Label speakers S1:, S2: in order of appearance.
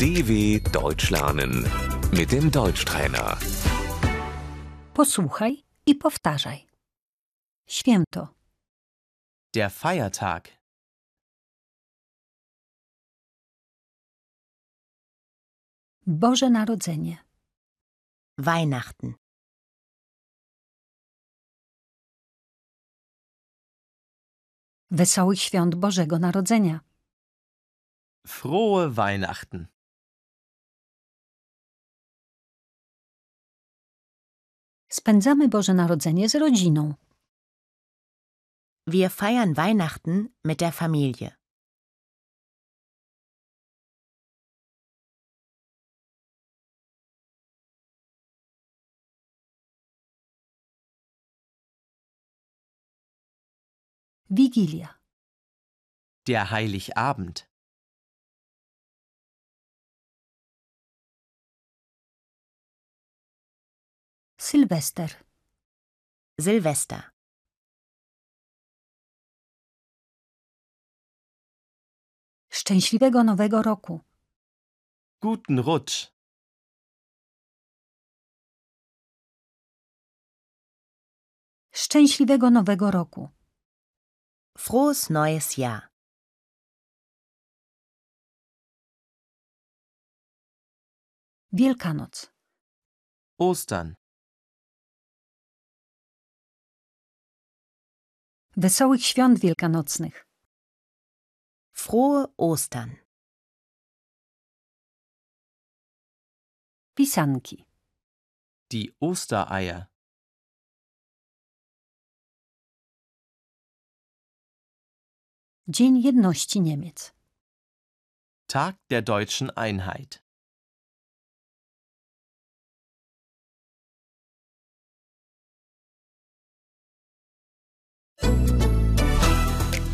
S1: DW Deutsch lernen mit dem Deutschtrainer.
S2: Posłuchaj i powtarzaj. Święto,
S3: Der Feiertag.
S2: Boże Narodzenie,
S4: Weihnachten,
S2: Wesołych Świąt Bożego Narodzenia,
S3: Frohe Weihnachten.
S2: spędzamy Boże Narodzenie z rodziną.
S4: wir feiern Weihnachten mit der Familie.
S2: Wigilia,
S3: Der Heiligabend.
S2: Sylwester,
S4: Silvester,
S2: Szczęśliwego Nowego Roku,
S3: Guten Rutsch.
S2: Szczęśliwego Nowego Roku,
S4: frohes neues Jahr,
S2: Wielkanoc,
S3: Ostern.
S2: Wesołych Świąt Wielkanocnych,
S4: frohe Ostern,
S2: Pisanki,
S3: Die Ostereier.
S2: Dzień Jedności Niemiec,
S3: Tag der deutschen Einheit.